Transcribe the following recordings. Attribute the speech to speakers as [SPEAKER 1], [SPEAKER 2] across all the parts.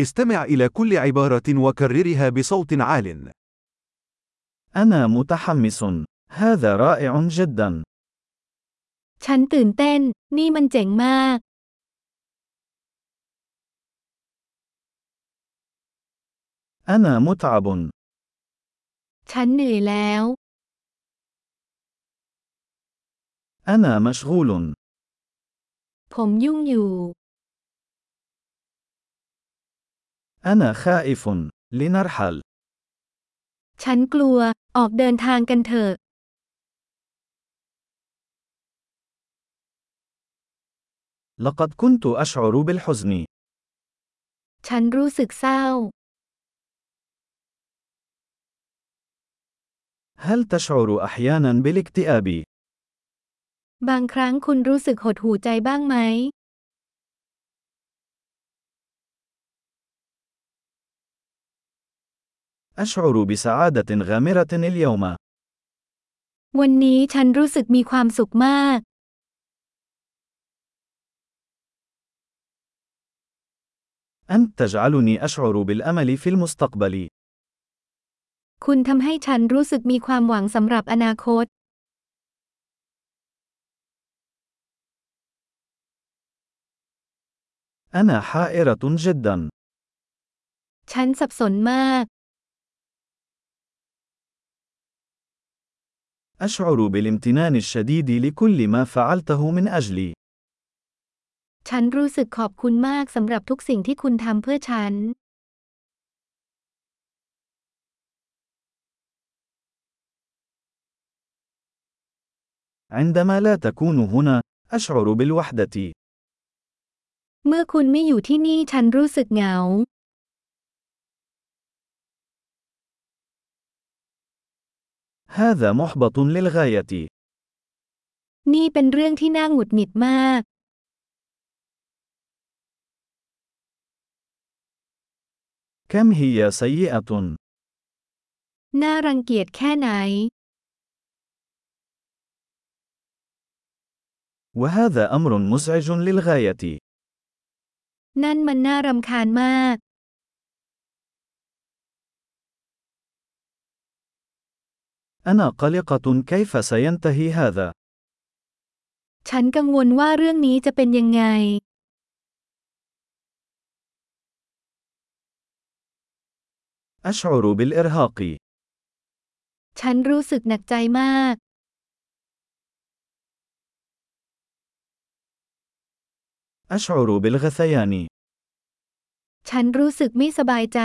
[SPEAKER 1] استمع إلى كل عبارة وكررها بصوت عال.
[SPEAKER 2] أنا متحمس. هذا رائع جدا.
[SPEAKER 3] ฉันตื่นเต้น นี่มันเจ๋งมาก
[SPEAKER 2] أنا متعب.
[SPEAKER 3] ฉันเหนื่อยแล้ว
[SPEAKER 2] أنا مشغول.
[SPEAKER 3] ผมยุ่งอยู่
[SPEAKER 2] أنا خائف. لنرحل.
[SPEAKER 3] ฉันกลัว ออกเดินทางกันเถอะ
[SPEAKER 2] لقد كنت أشعر بالحزن.
[SPEAKER 3] ฉันรู้สึกเศร้า
[SPEAKER 2] هل تشعر أحيانا بالاكتئاب؟
[SPEAKER 3] บางครั้งคุณรู้สึกหดหู่ใจบ้างไหม
[SPEAKER 2] أشعر بسعادة غامرة اليوم.
[SPEAKER 3] วันนี้ฉันรู้สึกมีความสุขมาก
[SPEAKER 2] أنت تجعلني أشعر بالأمل في المستقبل.
[SPEAKER 3] คุณทำให้ฉันรู้สึกมีความหวังสำหรับอนาคต
[SPEAKER 2] أنا حائرة جدا.
[SPEAKER 3] ฉันสับสนมาก
[SPEAKER 2] أشعر بالامتنان الشديد لكل ما فعلته من أجلي.
[SPEAKER 3] ฉันรู้สึกขอบคุณมากสำหรับทุกสิ่งที่คุณทำเพื่อฉัน
[SPEAKER 2] عندما لا تكون هنا، أشعر بالوحدة.
[SPEAKER 3] เมื่อคุณไม่อยู่ที่นี่ฉันรู้สึกเหงา
[SPEAKER 2] هذا محبط للغاية.
[SPEAKER 3] นี่เป็นเรื่องที่น่าหงุดหงิดมาก
[SPEAKER 2] كم هي سيئة.
[SPEAKER 3] น่ารังเกียจแค่ไหน
[SPEAKER 2] وهذا أمر مزعج للغاية.
[SPEAKER 3] นั่นมันน่ารำคาญมาก
[SPEAKER 2] أنا قلقة كيف سينتهي هذا.
[SPEAKER 3] ฉันกังวลว่าเรื่องนี้จะเป็นยังไง
[SPEAKER 2] أشعر بالإرهاق.
[SPEAKER 3] ฉันรู้สึกหนักใจมาก
[SPEAKER 2] أشعر بالغثيان.
[SPEAKER 3] ฉันรู้สึกไม่สบายใจ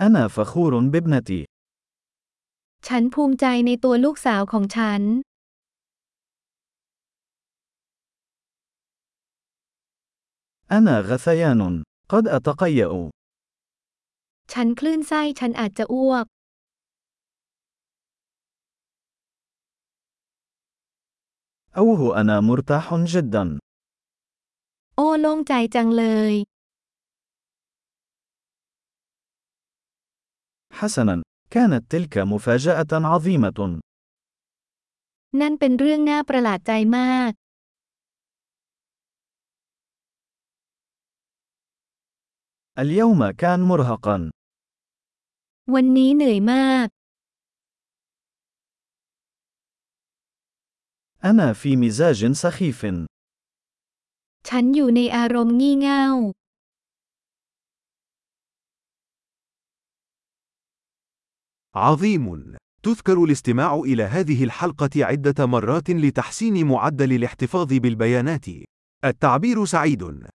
[SPEAKER 2] أنا فخور بابنتي.
[SPEAKER 3] ฉันภูมิใจในตัวลูกสาวของฉัน
[SPEAKER 2] أنا غثيان. قد أتقيأ.
[SPEAKER 3] ฉันคลื่นไส้ฉันอาจจะอ้วก
[SPEAKER 2] أوه أنا مرتاح جدا.
[SPEAKER 3] โอ้โล่งใจจังเลย
[SPEAKER 2] حسنا. كانت تلك مفاجأة عظيمة.
[SPEAKER 3] นั่นเป็นเรื่องน่าประหลาดใจมาก
[SPEAKER 2] اليوم كان مرهقا.
[SPEAKER 3] วันนี้เหนื่อยมาก
[SPEAKER 2] أنا في مزاج سخيف.
[SPEAKER 3] ฉันอยู่ในอารมณ์งี่เง่า
[SPEAKER 1] عظيم. تذكر الاستماع إلى هذه الحلقة عدة مرات لتحسين معدل الاحتفاظ بالبيانات. التعبير سعيد.